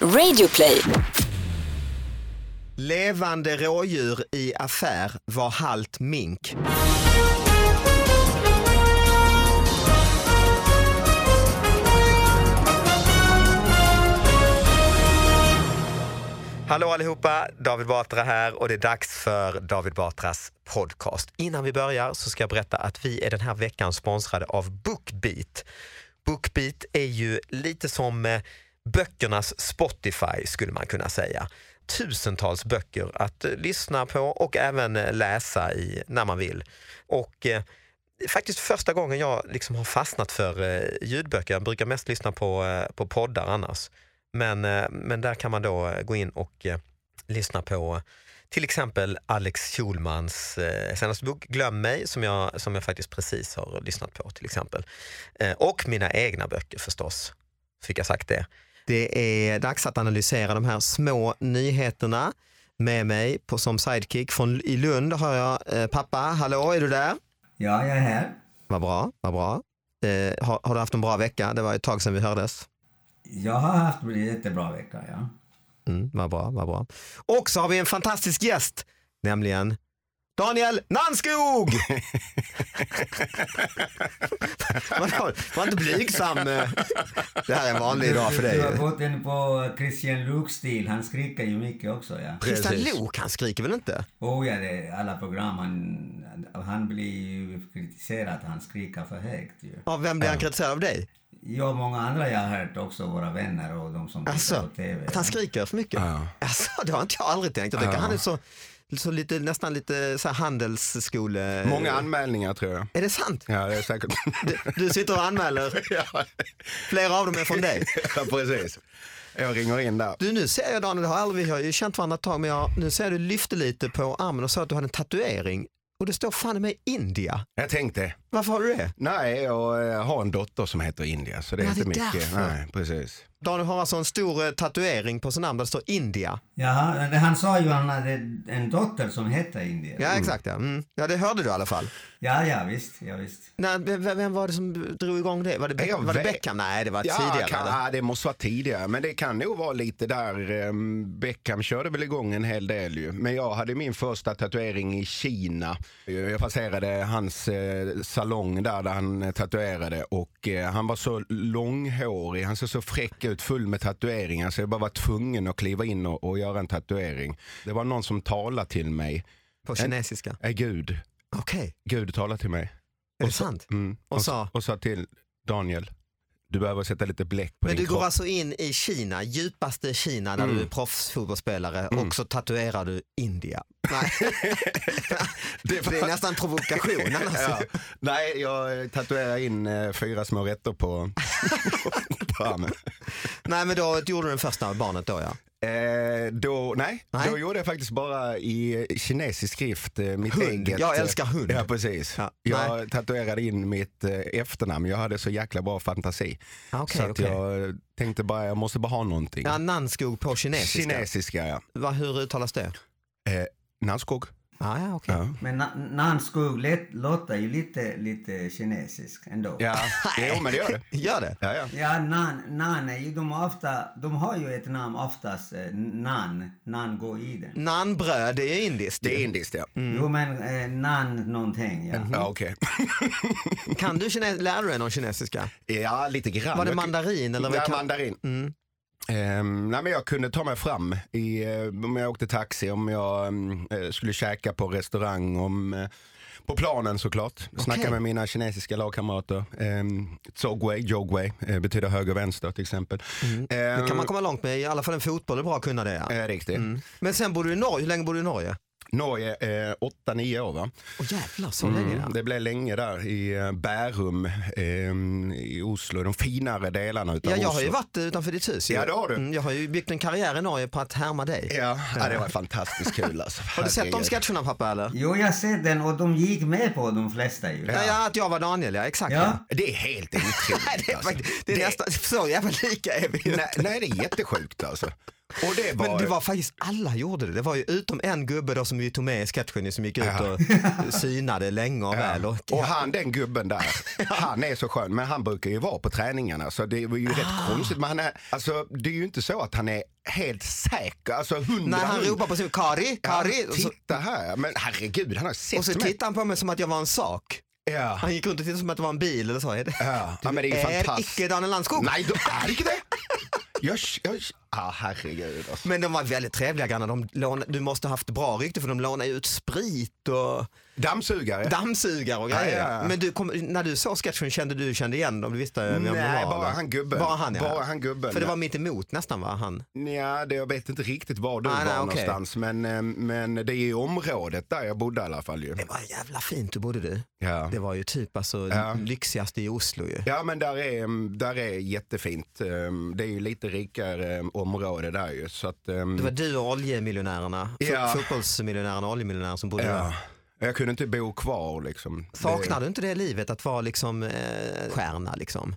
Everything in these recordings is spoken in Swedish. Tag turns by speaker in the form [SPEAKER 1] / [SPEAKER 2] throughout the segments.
[SPEAKER 1] Radioplay.
[SPEAKER 2] Levande rådjur i affär var halt mink. Hallå allihopa, David Batra här och det är dags för David Batras podcast. Innan vi börjar så ska jag berätta att vi är den här veckan sponsrade av Bookbeat. Bookbeat är ju lite som eh, böckernas Spotify skulle man kunna säga. Tusentals böcker att eh, lyssna på och även eh, läsa i när man vill. Och eh, faktiskt första gången jag liksom har fastnat för eh, ljudböcker. Jag brukar mest lyssna på, eh, på poddar annars. Men, eh, men där kan man då eh, gå in och eh, lyssna på eh, till exempel Alex Schulmans eh, senaste bok Glöm mig som jag, som jag faktiskt precis har lyssnat på till exempel. Eh, och mina egna böcker förstås. Fick jag sagt det. Det är dags att analysera de här små nyheterna med mig på, som sidekick. Från, I Lund har jag eh, pappa. Hallå, är du där?
[SPEAKER 3] Ja, jag är här.
[SPEAKER 2] Vad bra, vad bra. Eh, har, har du haft en bra vecka? Det var ett tag sedan vi hördes.
[SPEAKER 3] Jag har haft en jättebra vecka, ja.
[SPEAKER 2] Mm, vad bra, vad bra. Och så har vi en fantastisk gäst, nämligen Daniel Nanskog! man, har- var inte blygsam. eh. Det här är en vanlig dag för
[SPEAKER 3] Du har
[SPEAKER 2] dig.
[SPEAKER 3] gått in på Christian Luuk-stil. Han skriker ju mycket också, ja.
[SPEAKER 2] Christian
[SPEAKER 4] Precis.
[SPEAKER 2] Lok, han skriker väl inte?
[SPEAKER 3] Oh ja, det är alla program. Han, han blir ju kritiserad att han skriker för högt ju.
[SPEAKER 2] Av vem blir han kritiserad av dig?
[SPEAKER 3] Jag och många andra jag har hört också, våra vänner och de som tittar
[SPEAKER 2] Alltså,
[SPEAKER 3] på TV.
[SPEAKER 2] att han skriker för mycket?
[SPEAKER 4] Ja.
[SPEAKER 2] Alltså, det har inte jag aldrig tänkt. Jag tycker
[SPEAKER 4] Ja.
[SPEAKER 2] han är så, så lite, nästan lite så här handelskole...
[SPEAKER 4] Många anmälningar tror jag.
[SPEAKER 2] Är det sant?
[SPEAKER 4] Ja, det är säkert.
[SPEAKER 2] Du, du sitter och anmäler.
[SPEAKER 4] ja,
[SPEAKER 2] Flera av dem är från dig.
[SPEAKER 4] ja, precis. Jag ringer in där.
[SPEAKER 2] Du, nu ser jag Daniel, det har aldrig, vi har ju känt varandra ett tag, men jag, nu ser jag du lyfte lite på armen och sa att du hade en tatuering. Och det står fan i mig India.
[SPEAKER 4] Jag tänkte,
[SPEAKER 2] Varför har du det?
[SPEAKER 4] nej, jag eh, har en dotter som heter India, så det är
[SPEAKER 2] Ja, det
[SPEAKER 4] inte
[SPEAKER 2] är
[SPEAKER 4] mycket.
[SPEAKER 2] därför.
[SPEAKER 4] Nej, precis.
[SPEAKER 2] Daniel har alltså en stor eh, tatuering på sin arm där det står India.
[SPEAKER 3] Jaha, det- han sa ju att han hade en dotter som hette Indien.
[SPEAKER 2] Ja, exakt. Ja. Mm. ja, det hörde du i alla fall.
[SPEAKER 3] ja, ja visst. Ja, visst.
[SPEAKER 2] Nej, vem, vem var det som drog igång det? Var det, Be-
[SPEAKER 4] Jag
[SPEAKER 2] var det
[SPEAKER 4] vet-
[SPEAKER 2] Beckham? Nej, det var
[SPEAKER 4] Ja,
[SPEAKER 2] tidigare.
[SPEAKER 4] kan,
[SPEAKER 2] eller?
[SPEAKER 4] ja, det måste vara tidigare, men det kan nog vara lite där. eh, Beckham körde väl igång en hel del ju. Men jag hade min första tatuering i Kina. Jag passerade hans eh, salong där, där han eh, tatuerade och eh, han var så långhårig, han såg så fräck ut, full med tatueringar så jag bara var tvungen att kliva in och, och göra en tatuering. Det var någon som talade till mig.
[SPEAKER 2] På kinesiska.
[SPEAKER 4] Är Gud,
[SPEAKER 2] Okej,
[SPEAKER 4] Gud talade till mig.
[SPEAKER 2] är det
[SPEAKER 4] Och så-
[SPEAKER 2] sant?
[SPEAKER 4] Mm.
[SPEAKER 2] Och
[SPEAKER 4] Och,
[SPEAKER 2] sa?
[SPEAKER 4] sa? och sa till Daniel, du behöver sätta lite bläck på
[SPEAKER 2] Men
[SPEAKER 4] din
[SPEAKER 2] du
[SPEAKER 4] kropp.
[SPEAKER 2] går alltså in i Kina, djupaste Kina där du är proffsfotbollsspelare och så tatuerar du India. Nej. det, är nästan provokation annars.
[SPEAKER 4] Ja. Nej, jag tatuerar in eh, fyra små rätter på, på armen.
[SPEAKER 2] Nej men då gjorde du den första barnet då ja.
[SPEAKER 4] Eh, då, nej,
[SPEAKER 2] Nej.
[SPEAKER 4] då gjorde jag faktiskt bara i kinesisk skrift eh, mitt
[SPEAKER 2] Hund.
[SPEAKER 4] eget.
[SPEAKER 2] Jag älskar hund.
[SPEAKER 4] Ja, precis.
[SPEAKER 2] Ja,
[SPEAKER 4] jag tatuerade in mitt eh, efternamn. Jag hade så jäkla bra fantasi.
[SPEAKER 2] Ah, Okej,
[SPEAKER 4] så att
[SPEAKER 2] okej.
[SPEAKER 4] jag tänkte bara, jag måste bara ha någonting.
[SPEAKER 2] Ja, Nanskog på kinesiska.
[SPEAKER 4] kinesiska, ja.
[SPEAKER 2] Va, hur uttalas det?
[SPEAKER 4] Eh, Nanskog.
[SPEAKER 2] Ah, ja, okej.
[SPEAKER 4] Ja.
[SPEAKER 3] Men Na- Nanskog lät- låter ju lite, lite kinesisk ändå.
[SPEAKER 4] Ja, jo men det gör det.
[SPEAKER 2] Gör det?
[SPEAKER 4] Ja, ja.
[SPEAKER 3] Ja, nan, nan är ju, de, har ofta, de har ju ett namn oftast, eh, nan, nan går i den.
[SPEAKER 2] Nanbröd, det är indiskt.
[SPEAKER 4] Det är
[SPEAKER 2] ju.
[SPEAKER 4] indiskt ja.
[SPEAKER 2] Mhm. Mm.
[SPEAKER 3] Jo men eh, nan någonting, ja.
[SPEAKER 4] ja Okej.
[SPEAKER 2] Kan du kines- lär du dig någon kinesiska?
[SPEAKER 4] Ja, lite grann.
[SPEAKER 2] Var det
[SPEAKER 4] Jag-
[SPEAKER 2] mandarin eller vad
[SPEAKER 4] ja,
[SPEAKER 2] kan- Mm.
[SPEAKER 4] mandarin. Ehm, nej, men jag kunde ta mig fram i, eh, om jag åkte taxi, om jag mm, eh, skulle käka på restaurang, om, eh, på planen såklart. Snacka med mina kinesiska lagkamrater. Um, Zogwei, Jogwei, eh, betyder höger och vänster till exempel. Ehm,
[SPEAKER 2] Mm. Det kan man Mm. komma långt med, i alla fall en fotboll är bra att kunna det. Ja.
[SPEAKER 4] eh, riktigt.
[SPEAKER 2] Men sen bor du i Norge, hur länge bor du i Norge?
[SPEAKER 4] Norge, 8-9 år va?
[SPEAKER 2] Åh jävlar, så länge
[SPEAKER 4] Mm,
[SPEAKER 2] ja.
[SPEAKER 4] det blev länge där i eh, Bärum ehm, i Oslo, de finare delarna utav
[SPEAKER 2] Ja, jag har
[SPEAKER 4] Oslo.
[SPEAKER 2] ju varit utanför ditt hus. ju.
[SPEAKER 4] Ja, det har du.
[SPEAKER 2] Mm, jag har ju byggt en karriär i Norge på att härma dig.
[SPEAKER 4] Ja, ja, det var fantastiskt kul alltså.
[SPEAKER 2] Har du sett de
[SPEAKER 4] Herregud.
[SPEAKER 2] sketcherna pappa eller?
[SPEAKER 3] Jo, jag ser den och de gick med på de flesta ju.
[SPEAKER 2] Ja. ja, att jag var Daniel, ja exakt.
[SPEAKER 3] Ja.
[SPEAKER 4] Det är helt otroligt
[SPEAKER 2] Nej, det, är
[SPEAKER 4] alltså.
[SPEAKER 2] faktiskt- det är nästan, så jävla lika är vi ju.
[SPEAKER 4] nej, nej, det är jättesjukt alltså. Och det var,
[SPEAKER 2] Men det var faktiskt, alla gjorde det. Det var ju utom en gubbe då som vi tog med i sketchen som gick ut
[SPEAKER 4] Ja.
[SPEAKER 2] och synade länge och väl. Och,
[SPEAKER 4] Och han den gubben där, han är så skön. Men han brukar ju vara på träningarna så det var ju
[SPEAKER 2] Ah.
[SPEAKER 4] rätt konstigt. Men han är, alltså, det är ju inte så att han är helt säker. Alltså hundra
[SPEAKER 2] när han ropar på sin Kari, Kari.
[SPEAKER 4] Ja,
[SPEAKER 2] och, så,
[SPEAKER 4] titta här, men herregud han har sett
[SPEAKER 2] och så
[SPEAKER 4] mig.
[SPEAKER 2] tittar han på mig som att jag var en sak.
[SPEAKER 4] Ja.
[SPEAKER 2] Han gick runt och tittade som att det var en bil eller så. Är det?
[SPEAKER 4] Ja. ja, men det är ju fantastiskt.
[SPEAKER 2] icke Daniel Landskog.
[SPEAKER 4] Nej, du är inte det. Jag, jag, ah, herregud alltså.
[SPEAKER 2] Men de var väldigt trevliga grannar. De låna, du måste ha haft bra rykte för de lånade ut sprit och
[SPEAKER 4] Dammsugare.
[SPEAKER 2] dammsugare och grejer.
[SPEAKER 4] Ja, ja, ja.
[SPEAKER 2] Men du kom, när du såg sketchen kände du kände igen dem? Du visste vem de
[SPEAKER 4] Nej,
[SPEAKER 2] var,
[SPEAKER 4] bara
[SPEAKER 2] eller?
[SPEAKER 4] han gubben.
[SPEAKER 2] Bara han, ja.
[SPEAKER 4] Bara han gubben.
[SPEAKER 2] För det var mitt emot nästan va? Han.
[SPEAKER 4] Nja, det, jag vet inte riktigt var du
[SPEAKER 2] Ah,
[SPEAKER 4] var
[SPEAKER 2] nej, okej.
[SPEAKER 4] någonstans. Men, eh, men det är i området där jag bodde i alla fall ju.
[SPEAKER 2] Det var jävla fint du bodde du.
[SPEAKER 4] Ja.
[SPEAKER 2] Det var ju typ alltså
[SPEAKER 4] Ja.
[SPEAKER 2] lyxigaste i Oslo ju.
[SPEAKER 4] Ja men där är, mm, där är jättefint. Ehm, Det är ju lite rikare eh, område där ju. Så att, ehm,
[SPEAKER 2] Det var du och oljemiljonärerna, Fo-
[SPEAKER 4] Ja.
[SPEAKER 2] fotbollsmiljonärerna och oljemiljonärerna som bodde där.
[SPEAKER 4] ja, jag kunde inte bo kvar liksom.
[SPEAKER 2] Saknar
[SPEAKER 4] det,
[SPEAKER 2] du inte det livet att vara liksom eh, stjärna liksom?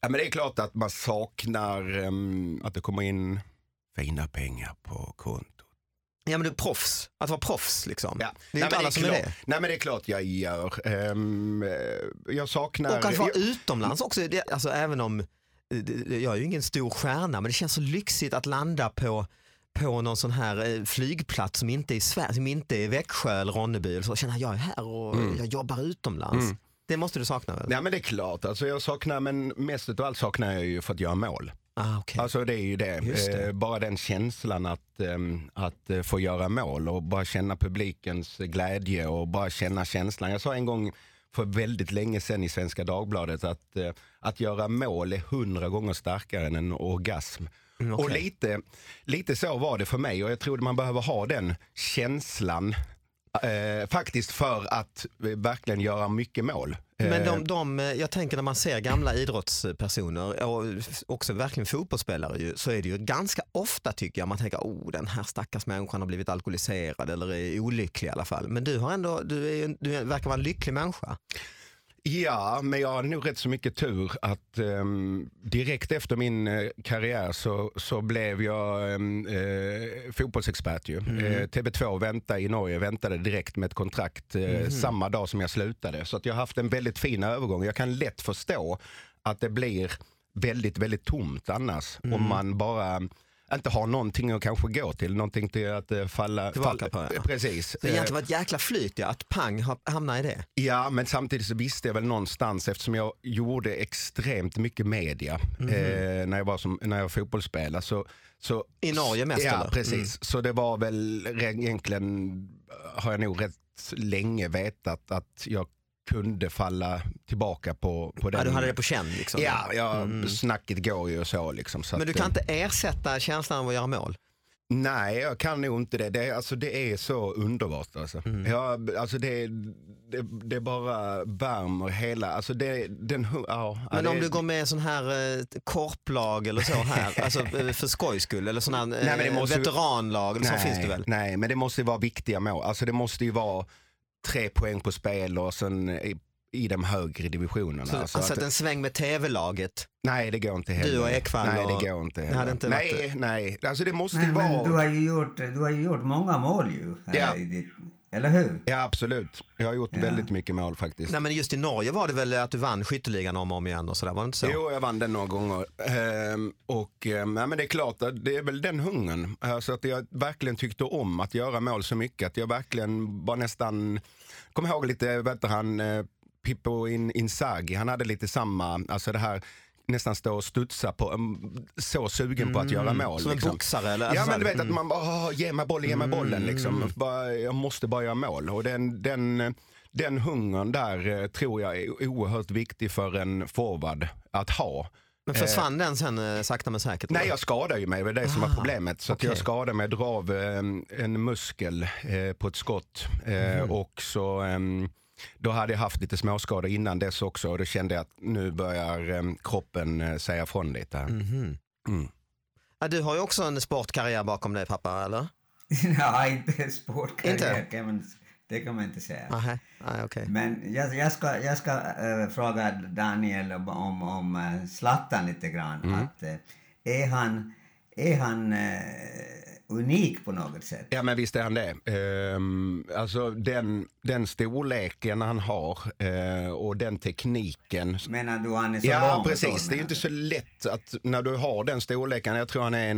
[SPEAKER 4] ja, men det är klart att man saknar ehm, att det kommer in fina pengar på kontot.
[SPEAKER 2] Ja men du är proffs, att vara proffs liksom.
[SPEAKER 4] Ja.
[SPEAKER 2] Det är ju inte
[SPEAKER 4] men
[SPEAKER 2] alla som är
[SPEAKER 4] klart,
[SPEAKER 2] det.
[SPEAKER 4] Nej men det är klart jag gör. Ehm, eh, jag saknar...
[SPEAKER 2] Och att vara
[SPEAKER 4] jag-
[SPEAKER 2] utomlands också, det, alltså även om eh, det- jag är ju ingen stor stjärna men det känns så lyxigt att landa på på någon sån här eh, flygplats som inte är Sverige, som inte är Växjö eller Ronneby. eller Så känner jag, jag är här och jag jobbar utomlands. Det måste du sakna väl?
[SPEAKER 4] Nej men det är klart, alltså jag saknar, men mest utav allt saknar jag ju för att göra mål.
[SPEAKER 2] Ah, okej.
[SPEAKER 4] Alltså det är ju det.
[SPEAKER 2] Just det.
[SPEAKER 4] Eh, bara den känslan att, ehm, att eh, få göra mål och bara känna publikens glädje och bara känna känslan. Jag sa en gång för väldigt länge sedan i Svenska Dagbladet att, eh, att göra mål är hundra gånger starkare än en orgasm.
[SPEAKER 2] Mm, okej.
[SPEAKER 4] Och lite, lite så var det för mig och jag tror att man behöver ha den känslan eh, faktiskt för att eh, verkligen göra mycket mål.
[SPEAKER 2] Men
[SPEAKER 4] Eh,
[SPEAKER 2] de, de, eh, jag tänker när man ser gamla idrottspersoner och f- också verkligen fotbollsspelare ju, så är det ju ganska ofta tycker jag man tänker oh den här stackars människan har blivit alkoholiserad eller är olycklig i alla fall. Men du har ändå, du, är, ju en- du verkar vara en lycklig människa.
[SPEAKER 4] Ja, men jag har nog rätt så mycket tur att ehm, direkt efter min eh, karriär så, så blev jag ehm, eh, fotbollsexpert ju.
[SPEAKER 2] Mm.
[SPEAKER 4] Eh, TV2 väntade i Norge, väntade direkt med ett kontrakt eh,
[SPEAKER 2] Mhm.
[SPEAKER 4] samma dag som jag slutade. Så att jag har haft en väldigt fin övergång. Jag kan lätt förstå att det blir väldigt, väldigt tomt annars
[SPEAKER 2] Mm.
[SPEAKER 4] om man bara inte har någonting att kanske gå till, någonting till att eh, falla...
[SPEAKER 2] Tillbaka
[SPEAKER 4] falla-
[SPEAKER 2] på, ja.
[SPEAKER 4] Precis.
[SPEAKER 2] Det
[SPEAKER 4] Eh,
[SPEAKER 2] egentligen var ett jäkla flyt ja, att pang ha- hamna i det.
[SPEAKER 4] Ja, men samtidigt så visste jag väl någonstans eftersom jag gjorde extremt mycket media
[SPEAKER 2] Mhm.
[SPEAKER 4] eh, när jag var som, när jag fotbollsspelare. Så, så,
[SPEAKER 2] I Norge mest,
[SPEAKER 4] Ja,
[SPEAKER 2] eller?
[SPEAKER 4] precis.
[SPEAKER 2] Mm.
[SPEAKER 4] Så det var väl re- egentligen, eh, har jag nog rätt länge vetat att jag kunde falla tillbaka på, på den.
[SPEAKER 2] Ja, du hade det på känn liksom.
[SPEAKER 4] Ja, ja snacket går ju och så liksom. Så
[SPEAKER 2] Men du
[SPEAKER 4] att,
[SPEAKER 2] kan
[SPEAKER 4] eh,
[SPEAKER 2] inte ersätta känslan av att göra mål.
[SPEAKER 4] Nej, jag kan nog inte det. Det, är- alltså, det är så underbart. Alltså.
[SPEAKER 2] Mm.
[SPEAKER 4] Jag, alltså, det, det, det bara värmer hela... Alltså, det, den, hu- ja, ja,
[SPEAKER 2] Men
[SPEAKER 4] det,
[SPEAKER 2] om du går med i sån här eh, korplag eller så här, alltså eh, för skojs skull, eller sån här eh,
[SPEAKER 4] Nej, men det måste ju-
[SPEAKER 2] veteranlag, eller så
[SPEAKER 4] nej,
[SPEAKER 2] finns det väl?
[SPEAKER 4] Nej, men det måste ju vara viktiga mål. Alltså, det måste ju vara tre poäng på spel och sen i, i de högre divisionerna.
[SPEAKER 2] Så,
[SPEAKER 4] alltså,
[SPEAKER 2] alltså
[SPEAKER 4] att-
[SPEAKER 2] att en sväng med tv-laget.
[SPEAKER 4] Nej, det går inte heller.
[SPEAKER 2] och Ekvall
[SPEAKER 4] Nej,
[SPEAKER 2] och-
[SPEAKER 4] det går inte
[SPEAKER 2] Det hade
[SPEAKER 4] heller.
[SPEAKER 2] inte
[SPEAKER 4] nej, nej. Alltså, det måste ju
[SPEAKER 3] Men,
[SPEAKER 4] vara...
[SPEAKER 3] men du, har ju gjort, du har ju gjort många mål ju. här
[SPEAKER 4] Ja.
[SPEAKER 3] i ditt- Eller hur?
[SPEAKER 4] Ja, absolut. Jag har gjort
[SPEAKER 3] Ja.
[SPEAKER 4] väldigt mycket mål faktiskt.
[SPEAKER 2] Nej men just i Norge var det väl att du vann skytteligan om och om igen och sådär, var det inte så?
[SPEAKER 4] Jo, jag vann den några gånger. Ehm, och ehm, nej, men det är klart, att det är väl den hungern. Alltså att jag verkligen tyckte om att göra mål så mycket. Att jag verkligen var nästan, kom ihåg lite, vet du, han eh, Pippo in, Inzaghi, han hade lite samma, alltså det här nästan stå och studsa på, mm, så sugen på att göra mål.
[SPEAKER 2] Mm, Som en
[SPEAKER 4] liksom.
[SPEAKER 2] boxare eller?
[SPEAKER 4] Ja
[SPEAKER 2] alltså,
[SPEAKER 4] men du
[SPEAKER 2] så här,
[SPEAKER 4] vet att man bara, "Åh, ge mig bollen, ge mig bollen
[SPEAKER 2] Mm.
[SPEAKER 4] liksom. Bara, jag måste bara göra mål. Och den, den, den hungern där eh, tror jag är oerhört viktig för en forward att ha.
[SPEAKER 2] Men försvann den sen eh, sakta men säkert?
[SPEAKER 4] Nej jag skadar ju mig, det är det som var
[SPEAKER 2] Ah,
[SPEAKER 4] problemet. Så att jag
[SPEAKER 2] okej.
[SPEAKER 4] skadade mig, drar av eh, en muskel eh, på ett skott. Eh,
[SPEAKER 2] Mm.
[SPEAKER 4] Och så, eh, då hade jag haft lite småskador innan dess också och då kände jag att nu börjar eh, kroppen eh, säga från lite. här.
[SPEAKER 2] Mhm.
[SPEAKER 4] Mm.
[SPEAKER 2] Ja, du har ju också en sportkarriär bakom dig pappa, eller?
[SPEAKER 3] Ja, inte sportkarriär
[SPEAKER 2] Inte?
[SPEAKER 3] kan man, det kan man inte säga.
[SPEAKER 2] Nähä, nej okej.
[SPEAKER 3] Men jag, jag ska, jag ska eh, fråga
[SPEAKER 4] Mm.
[SPEAKER 3] Daniel om, om, om eh, Zlatan lite grann. Att, eh, är han Är han eh, unik på något sätt?
[SPEAKER 4] Ja men visst är han det. Ehm, alltså den, den storleken han har eh, och den tekniken.
[SPEAKER 3] Menar du han är så lång?
[SPEAKER 4] Ja
[SPEAKER 3] och så,
[SPEAKER 4] precis, det
[SPEAKER 3] menar
[SPEAKER 4] är ju inte
[SPEAKER 3] du?
[SPEAKER 4] så lätt att när du har den storleken, jag tror han är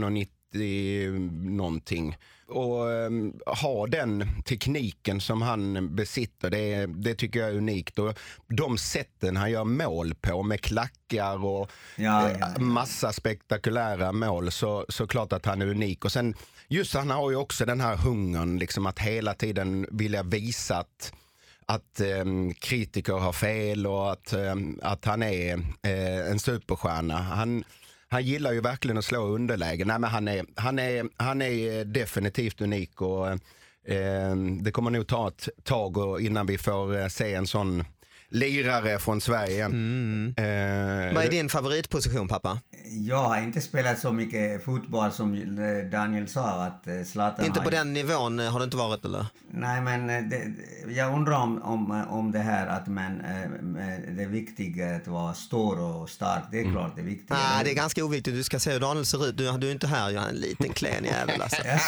[SPEAKER 4] 1,90 någonting. Och ehm, ha den tekniken som han besitter, det, det tycker jag är unikt. Och de sätten han gör mål på med klackar och
[SPEAKER 3] Ja,
[SPEAKER 4] eh,
[SPEAKER 3] ja, ja.
[SPEAKER 4] massa spektakulära mål så, så klart att han är unik. Och sen just han har ju också den här hungern liksom att hela tiden vilja visa att, att ehm, kritiker har fel och att, ehm, att han är eh, en superstjärna. Han, han gillar ju verkligen att slå underläge. Nej, men han, är, han, är, han är definitivt unik och eh, det kommer nog ta ett tag och- innan vi får eh, se en sån lirare från Sverige igen. Eh,
[SPEAKER 2] Mm. Vad är din favoritposition pappa?
[SPEAKER 3] Jag har inte spelat så mycket fotboll som eh, Daniel sa att eh, Zlatan
[SPEAKER 2] Inte
[SPEAKER 3] har
[SPEAKER 2] på
[SPEAKER 3] ju-
[SPEAKER 2] den nivån eh, har det inte varit eller?
[SPEAKER 3] Nej, men eh, det, det- jag undrar om, om, om det här att man, eh, det är viktigt att vara stor och stark. Det är
[SPEAKER 4] Mm.
[SPEAKER 3] klart det är viktigt.
[SPEAKER 2] Nej,
[SPEAKER 4] Ah,
[SPEAKER 2] det är ganska oviktigt. Du ska se hur Daniel ser ut. Du, du är inte här, jag är en liten klen jävel alltså.
[SPEAKER 4] Nej,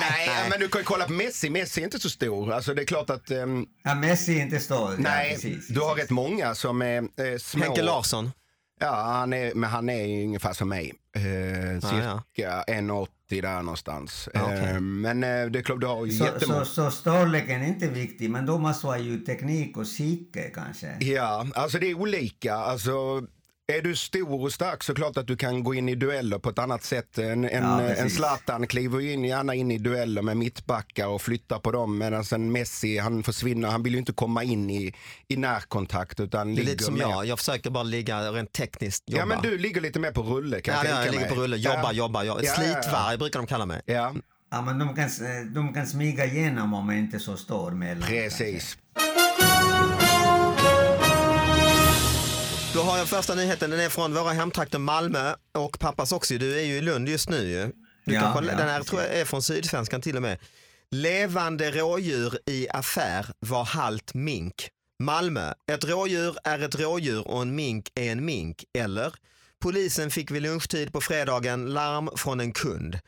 [SPEAKER 2] nej.
[SPEAKER 4] men du kan ju kolla på Messi. Messi är inte så stor. Alltså det är klart att... ehm,
[SPEAKER 3] ja, Messi är inte stor. ja,
[SPEAKER 4] nej,
[SPEAKER 3] precis,
[SPEAKER 4] du har
[SPEAKER 3] precis.
[SPEAKER 4] rätt många som är eh, små.
[SPEAKER 2] Henke Larsson.
[SPEAKER 4] Ja, han är, men han är ju ungefär som mig. Eh,
[SPEAKER 2] ja.
[SPEAKER 4] cirka 1,80 där någonstans.
[SPEAKER 2] Ja, okej.
[SPEAKER 4] Eh, men eh, det är klart, du har ju
[SPEAKER 3] Så,
[SPEAKER 4] jättemånga.
[SPEAKER 3] så, så storleken är inte viktig, men då måste man ju teknik och psyke kanske.
[SPEAKER 4] Ja, alltså det är olika. Alltså, är du stor och stark så klart att du kan gå in i dueller på ett annat sätt. En, en,
[SPEAKER 3] Ja, precis.
[SPEAKER 4] en Zlatan kliver ju in, gärna in i dueller med mittbackar och flyttar på dem medan en Messi han försvinner. Han vill ju inte komma in i, i närkontakt utan
[SPEAKER 2] Det är
[SPEAKER 4] ligger
[SPEAKER 2] lite som
[SPEAKER 4] mer.
[SPEAKER 2] jag. Jag försöker bara ligga rent tekniskt. Jobba.
[SPEAKER 4] Ja men du ligger lite mer på rulle kan
[SPEAKER 2] Ja,
[SPEAKER 4] jag
[SPEAKER 2] det gör jag.
[SPEAKER 4] tänka
[SPEAKER 2] jag ligger
[SPEAKER 4] mig.
[SPEAKER 2] på rulle. Jobba,
[SPEAKER 4] ja.
[SPEAKER 2] jobba, jobba.
[SPEAKER 4] Ja, ja, ja.
[SPEAKER 2] Slitvarg brukar de kalla mig.
[SPEAKER 4] Ja,
[SPEAKER 3] Ja, men de kan, s- de kan smyga igenom om man inte är så stor. Mellan,
[SPEAKER 4] precis.
[SPEAKER 2] Då har jag första nyheten. Den är från våra hemtrakter Malmö och pappas också. Du är ju i Lund just nu ju. Du
[SPEAKER 3] Ja,
[SPEAKER 2] kanske,
[SPEAKER 3] ja,
[SPEAKER 2] den här
[SPEAKER 3] precis.
[SPEAKER 2] tror jag är från Sydsvenskan till och med. Levande rådjur i affär var halt mink. Malmö. Ett rådjur är ett rådjur och en mink är en mink. Eller? Polisen fick vid lunchtid på fredagen larm från en kund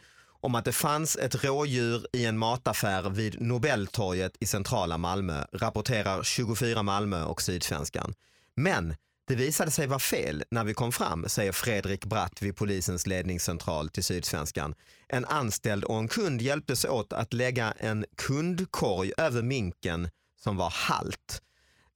[SPEAKER 2] om att det fanns ett rådjur i en mataffär vid Nobeltorget i centrala Malmö, rapporterar 24 Malmö och Sydsvenskan. Men det visade sig vara fel när vi kom fram, säger Fredrik Bratt vid polisens ledningscentral till Sydsvenskan. En anställd och en kund hjälptes åt att lägga en kundkorg över minken som var halt.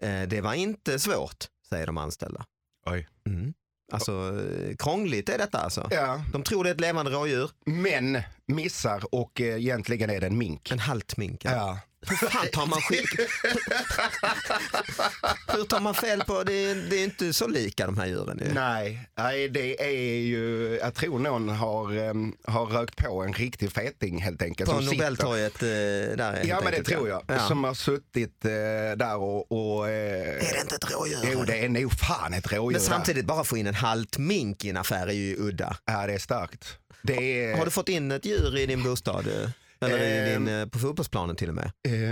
[SPEAKER 2] Eh, Det var inte svårt, säger de anställda.
[SPEAKER 4] Oj.
[SPEAKER 2] Mm. Alltså, eh, krångligt är detta alltså.
[SPEAKER 4] Ja,
[SPEAKER 2] De tror det är ett levande rådjur,
[SPEAKER 4] men missar och eh, egentligen är det en mink.
[SPEAKER 2] en halt mink. ja.
[SPEAKER 4] Ja.
[SPEAKER 2] Hur fan tar man skit? Hur tar man fel på, det är, det är inte så lika de här djuren ju.
[SPEAKER 4] Nej, nej, det är ju, jag tror någon har, em, har rökt på en riktig feting helt enkelt.
[SPEAKER 2] På
[SPEAKER 4] som sitter-
[SPEAKER 2] Nobeltorget eh, där är
[SPEAKER 4] Ja
[SPEAKER 2] helt
[SPEAKER 4] men det
[SPEAKER 2] enkelt,
[SPEAKER 4] tror jag.
[SPEAKER 2] Ja.
[SPEAKER 4] Som har suttit eh, där och... och eh,
[SPEAKER 2] Är det inte ett rådjur?
[SPEAKER 4] Jo det är nog fan ett rådjur
[SPEAKER 2] Men
[SPEAKER 4] där.
[SPEAKER 2] samtidigt, bara få in en halt mink i en affär är ju udda.
[SPEAKER 4] Ja det är starkt. Det är,
[SPEAKER 2] Har du fått in ett djur i din bostad? eh? Eller i din, eh, på fotbollsplanen till och med?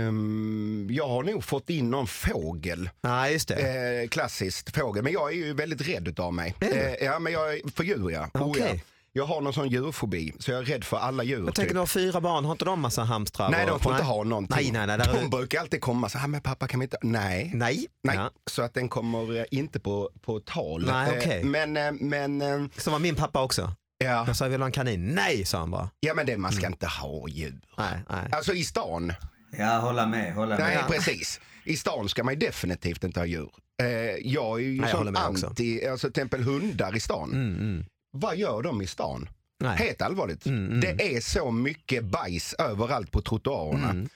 [SPEAKER 4] ehm, jag har nog fått in någon fågel.
[SPEAKER 2] Nej, just det.
[SPEAKER 4] Eh, klassiskt fågel. Men jag är ju väldigt rädd utav mig. Eh, ja men jag är för djur ja. Oh, ja.
[SPEAKER 2] Okej.
[SPEAKER 4] Jag har någon sån djurfobi. Så jag är rädd för alla djur.
[SPEAKER 2] Jag tänker du har fyra barn, har inte de massa hamstrar?
[SPEAKER 4] typ. Nej,
[SPEAKER 2] och-
[SPEAKER 4] de får inte ha någonting.
[SPEAKER 2] Alltså, Nej, nej, nej. Där
[SPEAKER 4] de
[SPEAKER 2] är...
[SPEAKER 4] brukar alltid komma så här, men pappa kan vi inte, nej. Nej,
[SPEAKER 2] nej. Ja.
[SPEAKER 4] så att den kommer eh, inte på, på tal.
[SPEAKER 2] Nej,
[SPEAKER 4] Eh,
[SPEAKER 2] okej.
[SPEAKER 4] Men, eh, men, eh,
[SPEAKER 2] Så var min pappa också.
[SPEAKER 4] ja,
[SPEAKER 2] Jag sa, jag vill ha en kanin. Nej, sa han bara.
[SPEAKER 4] ja men det, man ska inte ha djur.
[SPEAKER 2] Nej, nej.
[SPEAKER 4] Alltså i stan,
[SPEAKER 3] Jag håller med. Håller
[SPEAKER 4] nej
[SPEAKER 3] med.
[SPEAKER 4] precis. I stan ska man ju definitivt inte ha djur. Eh, jag är ju
[SPEAKER 2] jag håller
[SPEAKER 4] sån
[SPEAKER 2] med också.
[SPEAKER 4] anti, alltså till exempel hundar i stan.
[SPEAKER 2] Mm, mm.
[SPEAKER 4] Vad gör de i stan?
[SPEAKER 2] nej.
[SPEAKER 4] Helt allvarligt.
[SPEAKER 2] Mm, mm.
[SPEAKER 4] Det är så mycket bajs överallt på trottoarerna.
[SPEAKER 2] Mm.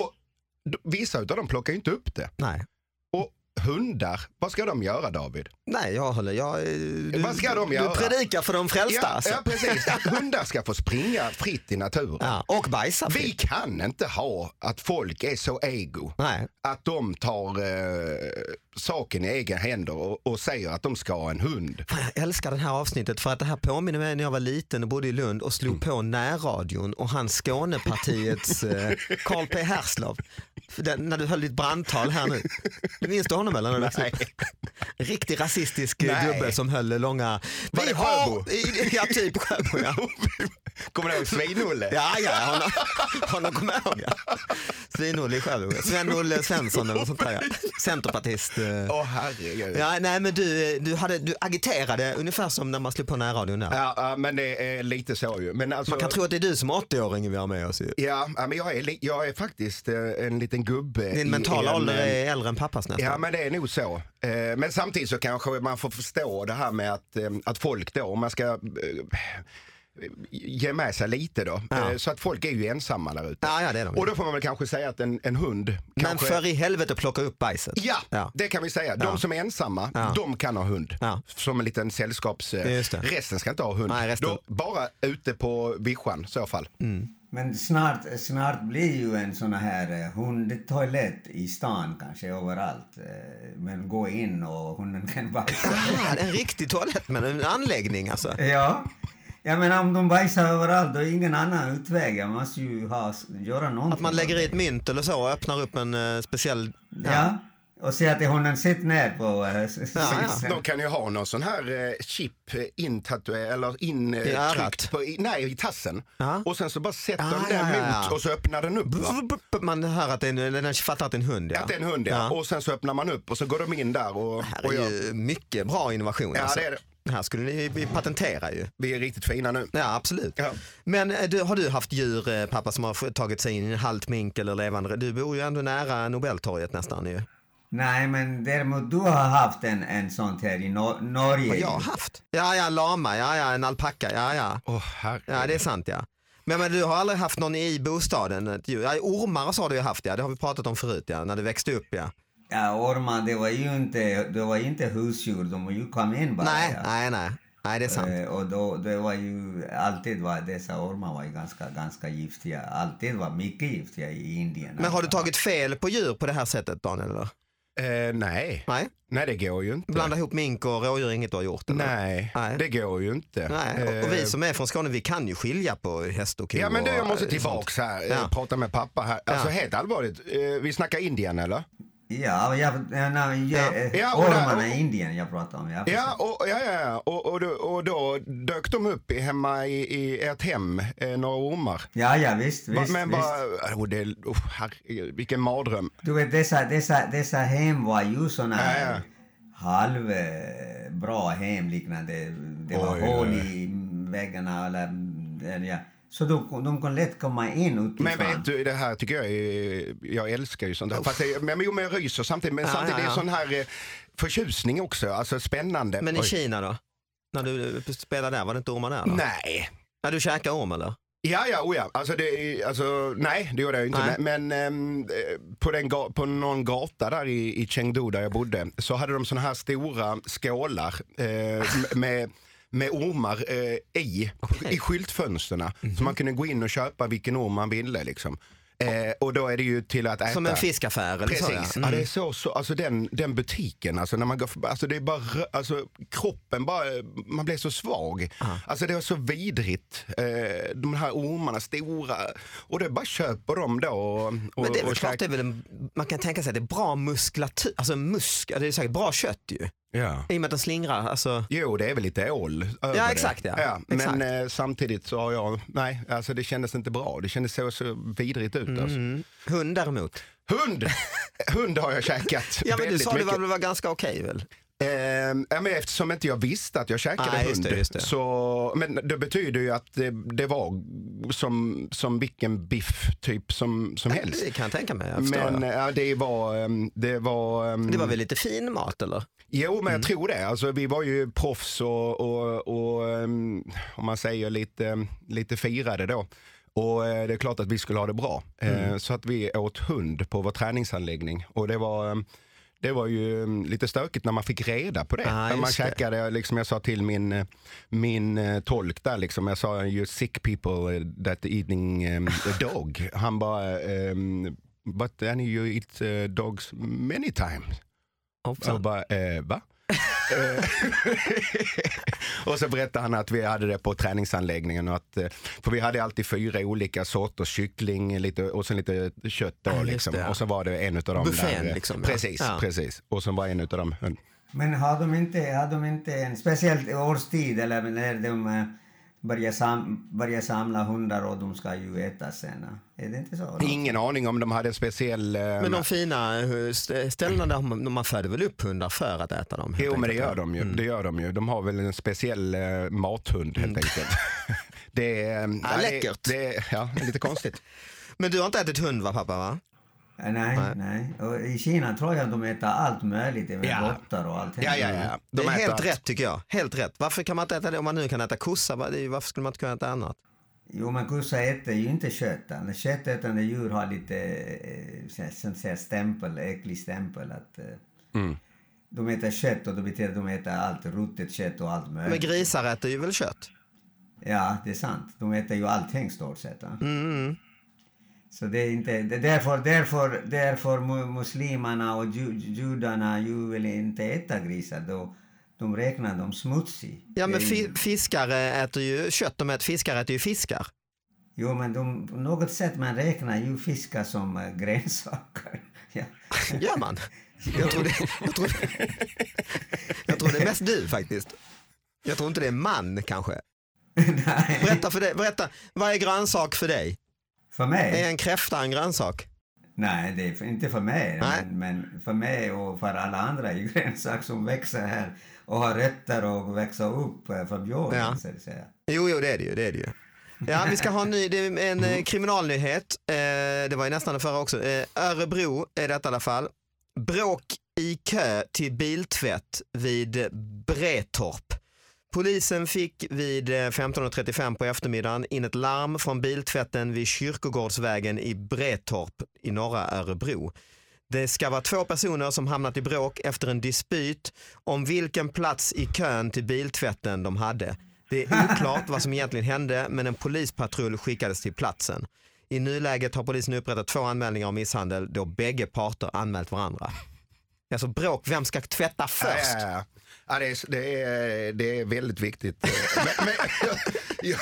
[SPEAKER 4] Och d- vissa utav dem plockar ju inte upp det.
[SPEAKER 2] Nej.
[SPEAKER 4] Och hundar, vad ska de göra David?
[SPEAKER 2] Nej, jag håller. Jag, eh, du,
[SPEAKER 4] Vad ska de göra?
[SPEAKER 2] Du predikar för de frälsta.
[SPEAKER 4] Ja,
[SPEAKER 2] alltså.
[SPEAKER 4] ja precis, hundar ska få springa fritt i naturen.
[SPEAKER 2] Ja, och typ. bajsa
[SPEAKER 4] Vi
[SPEAKER 2] fritt.
[SPEAKER 4] kan inte ha att folk är så ego
[SPEAKER 2] Nej.
[SPEAKER 4] att de tar eh, saken i egna händer och, och säger att de ska ha en hund.
[SPEAKER 2] Fan, jag älskar det här avsnittet för att det här påminner mig när jag var liten och bodde i Lund och
[SPEAKER 4] Mm.
[SPEAKER 2] slog på närradion och han Skånepartiets eh, Carl P Herslov. För Den, när du höll ditt brandtal här nu. Du minns du honom eller? Nej. Riktig rasistisk eh,
[SPEAKER 4] Nej.
[SPEAKER 2] gubbe som höll långa...
[SPEAKER 4] Var det Sjöbo?
[SPEAKER 2] I- Ja, typ Sjöbo ja.
[SPEAKER 4] Kommer du ihåg Svin-Olle?
[SPEAKER 2] Ja, ja, honom, honom kommer jag ihåg. Ja. Svin-Olle i Sjöbo. Sven-Olle Svensson eller något sånt där ja. Centerpartist. eh.
[SPEAKER 4] Åh herregud. Ja.
[SPEAKER 2] Ja, nej men du, du, hade, du agiterade ungefär som när man slog på närradion där.
[SPEAKER 4] Ja, men det är lite så ju. Men alltså,
[SPEAKER 2] Man kan tro att det är du som 80-åring vi har med oss ju.
[SPEAKER 4] ja, ja, men jag är, li- jag är faktiskt eh, en liten gubbe. i-
[SPEAKER 2] Din
[SPEAKER 4] i
[SPEAKER 2] mentala
[SPEAKER 4] en,
[SPEAKER 2] ålder
[SPEAKER 4] eh,
[SPEAKER 2] är äldre än pappas nästan.
[SPEAKER 4] Ja men det är nog så. Eh, Men samtidigt så kanske man får förstå det här med att, eh, att folk då, om man ska eh, ge med sig lite då.
[SPEAKER 2] Ja.
[SPEAKER 4] Eh, Så att folk är ju ensamma där ute.
[SPEAKER 2] Ja, ja, det är de ju.
[SPEAKER 4] Och då får man väl kanske säga att en, en hund
[SPEAKER 2] Men
[SPEAKER 4] kanske...
[SPEAKER 2] för i helvete plocka upp bajset.
[SPEAKER 4] Ja,
[SPEAKER 2] Ja.
[SPEAKER 4] det kan vi säga. De
[SPEAKER 2] Ja.
[SPEAKER 4] som är ensamma,
[SPEAKER 2] Ja.
[SPEAKER 4] de kan ha hund.
[SPEAKER 2] Ja.
[SPEAKER 4] Som en liten sällskaps... eh,
[SPEAKER 2] Just det.
[SPEAKER 4] Resten ska inte ha hund.
[SPEAKER 2] Nej, resten-
[SPEAKER 4] De, bara ute på vischan i så fall.
[SPEAKER 3] Men snart, snart blir ju en sån här eh, hundtoalett i stan kanske överallt. Eh, Men gå in och hunden kan bajsa.
[SPEAKER 2] Ah, en riktig toalett men en anläggning alltså.
[SPEAKER 3] Ja. Jag menar om de bajsar överallt då är ingen annan utväg. Jag måste ju ha, göra någonting.
[SPEAKER 2] Att man lägger i ett mynt eller så och öppnar upp en eh, speciell...
[SPEAKER 3] Ja. Och säga till hunden sitt ner på eh, s- s-
[SPEAKER 2] Ja, ja.
[SPEAKER 3] sitsen.
[SPEAKER 4] De kan ju ha någon sån här eh, chip eh, intatuerad eller
[SPEAKER 2] I örat.
[SPEAKER 4] intryckt på, i, nej i tassen.
[SPEAKER 2] Ja.
[SPEAKER 4] Och sen så bara sätter
[SPEAKER 2] Ah,
[SPEAKER 4] de den
[SPEAKER 2] ja, ja,
[SPEAKER 4] mot
[SPEAKER 2] ja.
[SPEAKER 4] och så öppnar den upp. Va?
[SPEAKER 2] Man hör att det är en, eller den fattar att det är en hund ja.
[SPEAKER 4] Att det är en hund ja. Och sen så öppnar man upp och så går de in där och,
[SPEAKER 2] Här
[SPEAKER 4] och
[SPEAKER 2] är
[SPEAKER 4] gör.
[SPEAKER 2] ju mycket bra innovation
[SPEAKER 4] Ja,
[SPEAKER 2] alltså.
[SPEAKER 4] det är det.
[SPEAKER 2] här skulle ni vi patentera ju.
[SPEAKER 4] Vi är riktigt fina nu.
[SPEAKER 2] Ja, absolut.
[SPEAKER 4] Ja.
[SPEAKER 2] Men eh, du, har du haft djur, eh, pappa, som har f- tagit sig in i en halt mink eller levande? Du bor ju ändå nära Nobeltorget nästan ju.
[SPEAKER 3] Nej men däremot du har haft en, en sån här i Nor- Norge.
[SPEAKER 2] Har jag haft? Ja, ja, lama, ja, ja, en alpacka, ja, ja.
[SPEAKER 4] Åh herre.
[SPEAKER 2] Ja, det är sant ja. Men, men du har aldrig haft någon i bostaden? Ett djur? Ja, ormar så har du ju haft ja, det har vi pratat om förut ja, när du växte upp ja.
[SPEAKER 3] Ja, ormar det var ju inte, det var ju inte husdjur. De ju kom in bara.
[SPEAKER 2] nej,
[SPEAKER 3] ja.
[SPEAKER 2] nej, nej, nej, det är sant.
[SPEAKER 3] Eh, och då, det var ju alltid var dessa ormar var ju ganska, ganska giftiga. Alltid var mycket giftiga i Indien.
[SPEAKER 2] Men har du tagit fel på djur på det här sättet Daniel? Eller?
[SPEAKER 4] Eh, nej.
[SPEAKER 2] Nej,
[SPEAKER 4] nej, det går ju inte.
[SPEAKER 2] blanda ihop mink och rådjur är inget du har gjort? Eller?
[SPEAKER 4] Nej,
[SPEAKER 2] Nej.
[SPEAKER 4] det går ju inte.
[SPEAKER 2] Nej, och, och
[SPEAKER 4] Eh,
[SPEAKER 2] vi som är från Skåne vi kan ju skilja på häst och ko.
[SPEAKER 4] Ja men du, jag
[SPEAKER 2] och,
[SPEAKER 4] måste
[SPEAKER 2] eh, sånt.
[SPEAKER 4] tillbaks här. eh,
[SPEAKER 2] Ja.
[SPEAKER 4] Prata med pappa här. Alltså
[SPEAKER 2] Ja.
[SPEAKER 4] helt allvarligt. eh, Vi snackar Indien eller?
[SPEAKER 3] Ja, jag, jag, jag, jag,
[SPEAKER 4] Ja, och
[SPEAKER 3] eh,
[SPEAKER 4] där-
[SPEAKER 3] ormarna i Indien jag pratar om. Jag
[SPEAKER 4] Ja, och, ja, ja, ja. Och, och, då, och då dök de upp i, hemma i, i ert hem, eh, några ormar.
[SPEAKER 3] ja, ja visst,
[SPEAKER 4] Va-
[SPEAKER 3] visst.
[SPEAKER 4] men
[SPEAKER 3] visst.
[SPEAKER 4] bara, oh, det, oh, herregud, vilken mardröm.
[SPEAKER 3] Du vet, dessa, dessa, dessa hem var ju såna
[SPEAKER 4] Ja, ja.
[SPEAKER 3] här halvbra hem liknande. Det var
[SPEAKER 4] Oj,
[SPEAKER 3] hål
[SPEAKER 4] oj.
[SPEAKER 3] i väggarna eller, eller ja. Så de, de kunde lätt komma in utifrån.
[SPEAKER 4] Men vet du, det här tycker jag är, jag älskar ju sånt här. Fast det, men, men, jo, men jag ryser samtidigt, men
[SPEAKER 2] Ja,
[SPEAKER 4] samtidigt
[SPEAKER 2] ja,
[SPEAKER 4] är
[SPEAKER 2] ja.
[SPEAKER 4] det sån här eh, förtjusning också, alltså spännande.
[SPEAKER 2] Men i
[SPEAKER 4] Oj.
[SPEAKER 2] Kina då? När du eh, spelade där, var det inte ormar där? Då?
[SPEAKER 4] Nej.
[SPEAKER 2] Ja, du käkade orm eller?
[SPEAKER 4] Ja, ja, oh ja. Alltså, det, är- alltså, nej, det gjorde jag ju inte.
[SPEAKER 2] Nej.
[SPEAKER 4] Men ehm, eh, på, den ga- på någon gata där i, i Chengdu där jag bodde så hade de såna här stora skålar eh, m- med, med ormar eh, i,
[SPEAKER 2] Okej. Mhm.
[SPEAKER 4] i skyltfönstren. Så man kunde gå in och köpa vilken orm man ville. Liksom. Eh, och då är det ju till att äta.
[SPEAKER 2] Som en fiskaffär eller
[SPEAKER 4] Precis,
[SPEAKER 2] så?
[SPEAKER 4] ja.
[SPEAKER 2] ja. Mm.
[SPEAKER 4] det är så, så, alltså den, den butiken, alltså när man går förbi- alltså det är bara, rö- alltså kroppen bara, man blir så svag. Alltså det är så vidrigt, eh, de här ormarna, stora, och det bara köper de då och, och,
[SPEAKER 2] Men det är väl
[SPEAKER 4] och
[SPEAKER 2] klart, det är
[SPEAKER 4] käkar.
[SPEAKER 2] väl en, man kan tänka sig att det är bra muskulatur, alltså musk, det är säkert bra kött ju.
[SPEAKER 4] ja.
[SPEAKER 2] I och med att den slingrar, alltså.
[SPEAKER 4] Jo, det är väl lite ål över
[SPEAKER 2] Ja,
[SPEAKER 4] det.
[SPEAKER 2] exakt, ja.
[SPEAKER 4] men
[SPEAKER 2] Exakt.
[SPEAKER 4] Eh, samtidigt så har jag, nej, alltså det kändes inte bra. Det kändes så, så vidrigt ut. Alltså.
[SPEAKER 2] Mm. Hund däremot.
[SPEAKER 4] Hund! Hund har jag käkat
[SPEAKER 2] Ja men du
[SPEAKER 4] väldigt
[SPEAKER 2] sa det
[SPEAKER 4] mycket.
[SPEAKER 2] var, det var ganska okej väl?
[SPEAKER 4] Ehm, ja, men eftersom inte jag visste att jag käkade
[SPEAKER 2] Nej,
[SPEAKER 4] hund.
[SPEAKER 2] just det, just det.
[SPEAKER 4] Så, men det betyder ju att det, det var som, som vilken biff typ som, som helst.
[SPEAKER 2] Det kan jag tänka mig, jag förstår
[SPEAKER 4] Men
[SPEAKER 2] jag.
[SPEAKER 4] ja, det var... ehm, Det var, ehm,
[SPEAKER 2] Det var väl lite fin mat eller?
[SPEAKER 4] Jo, men
[SPEAKER 2] Mm.
[SPEAKER 4] jag tror det. Alltså, vi var ju proffs och, och, och ehm, om man säger lite, lite firade då. Och eh, det är klart att vi skulle ha det bra. Eh,
[SPEAKER 2] Mm.
[SPEAKER 4] Så att vi åt hund på vår träningsanläggning. Och det var, ehm, det var ju ehm, lite stökigt när man fick reda på det.
[SPEAKER 2] Ah,
[SPEAKER 4] när man
[SPEAKER 2] just det.
[SPEAKER 4] käkade, liksom, jag sa till min, eh, min eh, tolk där, liksom, jag sa you sick people that eating ehm, a dog. Han bara, ehm, but then you eat eh, dogs many times.
[SPEAKER 2] Hoppsan.
[SPEAKER 4] Och bara, eh, va? Eh, och så berättade han att vi hade det på träningsanläggningen. Och att, eh, för vi hade alltid fyra olika sorters kyckling lite, och sen lite kött. Då,
[SPEAKER 2] Ja, just
[SPEAKER 4] liksom.
[SPEAKER 2] det, ja.
[SPEAKER 4] Och så var det en av dem.
[SPEAKER 2] Buffén,
[SPEAKER 4] eh,
[SPEAKER 2] liksom, ja.
[SPEAKER 4] Precis,
[SPEAKER 2] Ja.
[SPEAKER 4] precis. Och sen var en av dem. eh,
[SPEAKER 3] Men har de inte, har de inte en speciell årstid eller när de eh, börjar, sam, börjar samla hundar och de ska ju äta sen? eh? Är det inte så?
[SPEAKER 4] Ingen aning om de hade en speciell... eh,
[SPEAKER 2] Men de fina eh, st- ställena där man, man föder väl upp hundar för att äta dem? helt
[SPEAKER 4] Jo, men det
[SPEAKER 2] enkelt,
[SPEAKER 4] gör
[SPEAKER 2] ja. Mm.
[SPEAKER 4] de ju. Det gör de ju. De har väl en speciell eh, mathund helt enkelt. det är... eh,
[SPEAKER 2] Ah,
[SPEAKER 4] det-
[SPEAKER 2] Mm. läckert.
[SPEAKER 4] Det, är- ja, lite konstigt.
[SPEAKER 2] Men du har inte ätit hund va pappa? Va?
[SPEAKER 3] Eh, Nej, nej. Och I Kina tror jag de äter allt möjligt, även
[SPEAKER 4] Ja.
[SPEAKER 3] råttor och allt.
[SPEAKER 4] ja, ja, ja.
[SPEAKER 2] Mm. det är
[SPEAKER 4] äter
[SPEAKER 2] helt
[SPEAKER 4] allt.
[SPEAKER 2] rätt tycker jag. Helt rätt. Varför kan man inte äta det om man nu kan äta kossa? va? Det är ju- Varför skulle man inte kunna äta annat?
[SPEAKER 3] Jo, men kossa äter ju inte kött. Annars Köttätande djur har lite eh, så här- som säger stämpel, äcklig stämpel. Att, eh, De äter kött och det betyder att de äter allt ruttet kött och allt
[SPEAKER 2] Men
[SPEAKER 3] möjligt.
[SPEAKER 2] grisar äter ju väl kött?
[SPEAKER 3] Ja, det är sant. De äter ju allting stort sett. Va?
[SPEAKER 2] Mm, mm.
[SPEAKER 3] Så det är inte, det- därför, därför, därför mu- muslimerna och ju, judarna ju vill inte äta grisar. Då, de räknar dem smutsig.
[SPEAKER 2] Ja men
[SPEAKER 3] Det är ju-
[SPEAKER 2] fi- fiskare äter ju kött, de äter, fiskar äter ju fiskar.
[SPEAKER 3] Jo, men de, på något sätt man räknar ju fiskar som eh, grönsaker. ja.
[SPEAKER 2] Gör man? Jag tror, det, jag, tror, jag tror det är mest du faktiskt. Jag tror inte det är man kanske.
[SPEAKER 3] Nej.
[SPEAKER 2] Berätta för dig, berätta, vad är grönsak för dig?
[SPEAKER 3] För mig?
[SPEAKER 2] Är en kräfta en grönsak?
[SPEAKER 3] Nej, det är för- inte för mig.
[SPEAKER 2] Nej.
[SPEAKER 3] Men, men för mig och för alla andra är grönsaker som växer här och har rötter och växer upp eh, från jorden.
[SPEAKER 2] Ja.
[SPEAKER 3] Så att säga.
[SPEAKER 2] Jo, jo det är det ju. Det är det ju. Ja, vi ska ha en ny, det är
[SPEAKER 3] Mm.
[SPEAKER 2] en eh, kriminalnyhet. Eh, det var ju nästan den förra också. Eh, Örebro är detta i alla fall. Bråk i kö till biltvätt vid Bretorp. Polisen fick vid eh, 15.35 på eftermiddagen in ett larm från biltvätten vid Kyrkogårdsvägen i Bretorp i norra Örebro. Det ska vara två personer som hamnat i bråk efter en dispyt om vilken plats i kön till biltvätten de hade. Det är oklart vad som egentligen hände men en polispatrull skickades till platsen. I nuläget har polisen upprättat två anmälningar om misshandel då bägge parter anmält varandra. Alltså bråk, vem ska tvätta först?
[SPEAKER 4] Ja, ja, ja. Ja, det, är, det, är, det är väldigt viktigt. men, men, jag,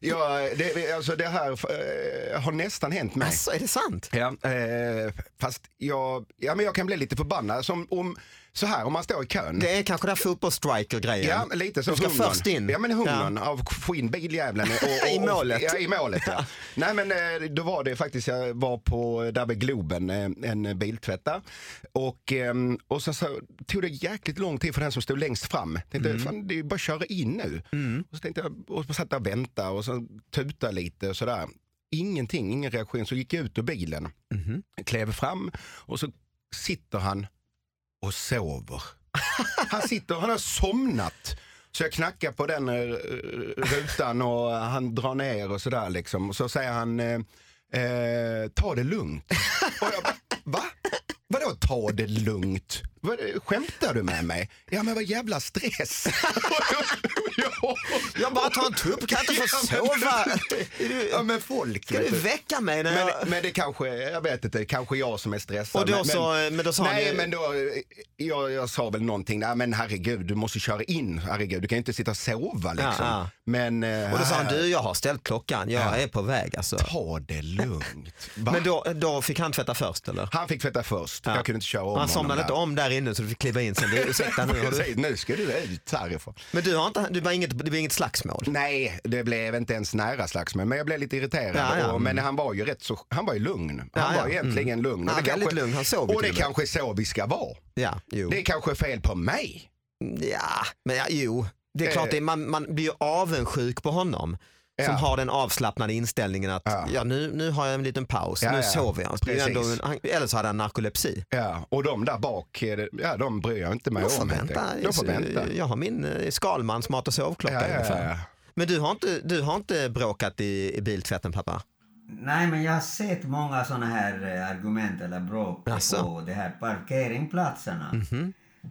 [SPEAKER 4] jag, det, alltså det här eh, har nästan hänt mig.
[SPEAKER 2] Alltså, är det sant?
[SPEAKER 4] Ja, eh, fast jag, ja, men jag kan bli lite förbannad. Som om, så här, om man står i kön.
[SPEAKER 2] Det är kanske den här fotbollsstriker-grejen.
[SPEAKER 4] Ja, men lite så.
[SPEAKER 2] Du ska
[SPEAKER 4] hungern.
[SPEAKER 2] först in.
[SPEAKER 4] Ja, men hungern
[SPEAKER 2] Ja.
[SPEAKER 4] av få in biljäveln. och- och-
[SPEAKER 2] I
[SPEAKER 4] och-
[SPEAKER 2] målet.
[SPEAKER 4] Ja, i målet. Ja. Nej, men eh, då var det faktiskt, jag var på, där vid Globen, eh, en biltvätt där. Och, ehm, och sen så tog det jäkligt lång tid för den som stod längst fram. Tänkte,
[SPEAKER 2] Mm.
[SPEAKER 4] fan, det är ju bara att köra in nu. Och så tänkte jag, och så satt jag och väntade och så tuta lite och sådär. Ingenting, ingen reaktion. Så gick jag ut ur bilen,
[SPEAKER 2] Mhm.
[SPEAKER 4] klev fram och så sitter han och sover. Han sitter, han har somnat. Så jag knackar på den eh, rutan och han drar ner och sådär liksom. Och så säger han, eh, eh, ta det lugnt. Och jag, bara, va? Vadå ta det lugnt? Vad, skämtar du med mig? Ja men vad jävla stress. jag,
[SPEAKER 2] Jag bara tar en tupp, kan jag inte få sova?
[SPEAKER 4] Ja men folk.
[SPEAKER 2] Ska
[SPEAKER 4] vet
[SPEAKER 2] du
[SPEAKER 4] du.
[SPEAKER 2] väcka mig när jag...
[SPEAKER 4] Men, men det kanske, jag vet inte, kanske jag som är stressad.
[SPEAKER 2] Och då
[SPEAKER 4] men,
[SPEAKER 2] så, men då sa han
[SPEAKER 4] nej,
[SPEAKER 2] ju-
[SPEAKER 4] men då, jag, jag sa väl någonting, nej men herregud, du måste köra in, herregud, du kan ju inte sitta och sova liksom.
[SPEAKER 2] ja.
[SPEAKER 4] Men, eh,
[SPEAKER 2] Och då sa han, du jag har ställt klockan, jag är på väg alltså.
[SPEAKER 4] ta det lugnt. Va?
[SPEAKER 2] Men då, då fick han tvätta först eller?
[SPEAKER 4] han fick tvätta först, jag kunde inte köra om
[SPEAKER 2] Och han
[SPEAKER 4] honom
[SPEAKER 2] somnade
[SPEAKER 4] där.
[SPEAKER 2] inte om där inne så du fick kliva in sen. Du, ursäkta nu. Har du...
[SPEAKER 4] Precis, nu ska du ut härifrån.
[SPEAKER 2] Men du har inte, du var inget, det blev inget slagsmål?
[SPEAKER 4] Nej, det blev inte ens nära slagsmål, men jag blev lite irriterad.
[SPEAKER 2] Ja, ja. Mm.
[SPEAKER 4] Och, men han var ju rätt så, han var ju lugn. Han
[SPEAKER 2] Ja, ja.
[SPEAKER 4] var egentligen lugn.
[SPEAKER 2] Ja,
[SPEAKER 4] Och det
[SPEAKER 2] väldigt lugn. Han sov ju
[SPEAKER 4] Och det
[SPEAKER 2] till och med.
[SPEAKER 4] kanske är så vi ska vara.
[SPEAKER 2] Ja, jo.
[SPEAKER 4] Det är kanske fel på mig.
[SPEAKER 2] Ja, men ja, jo. Det är
[SPEAKER 4] Eh.
[SPEAKER 2] klart, det, är- man, man blir ju avundsjuk på honom. Som
[SPEAKER 4] Ja.
[SPEAKER 2] har den avslappnade inställningen att ja.
[SPEAKER 4] Ja.
[SPEAKER 2] nu, nu har jag en liten paus,
[SPEAKER 4] Ja,
[SPEAKER 2] nu
[SPEAKER 4] ja.
[SPEAKER 2] sover jag. Det är ju Ändå,
[SPEAKER 4] Precis.
[SPEAKER 2] han, eller så hade han narkolepsi.
[SPEAKER 4] Ja, och de där bak, eh, ja, de bryr jag inte mig
[SPEAKER 2] Jag får
[SPEAKER 4] om. helt
[SPEAKER 2] vänta.
[SPEAKER 4] enkelt. De får vänta.
[SPEAKER 2] Jag har min eh, Skalmans mat och sovklocka
[SPEAKER 4] Ja, ja,
[SPEAKER 2] ungefär.
[SPEAKER 4] ja.
[SPEAKER 2] Men du har inte, du har inte bråkat i, i biltvätten pappa?
[SPEAKER 3] Nej, men jag har sett många såna här eh, argument eller bråk
[SPEAKER 2] Jaså? Mhm.
[SPEAKER 3] på de här parkeringsplatserna.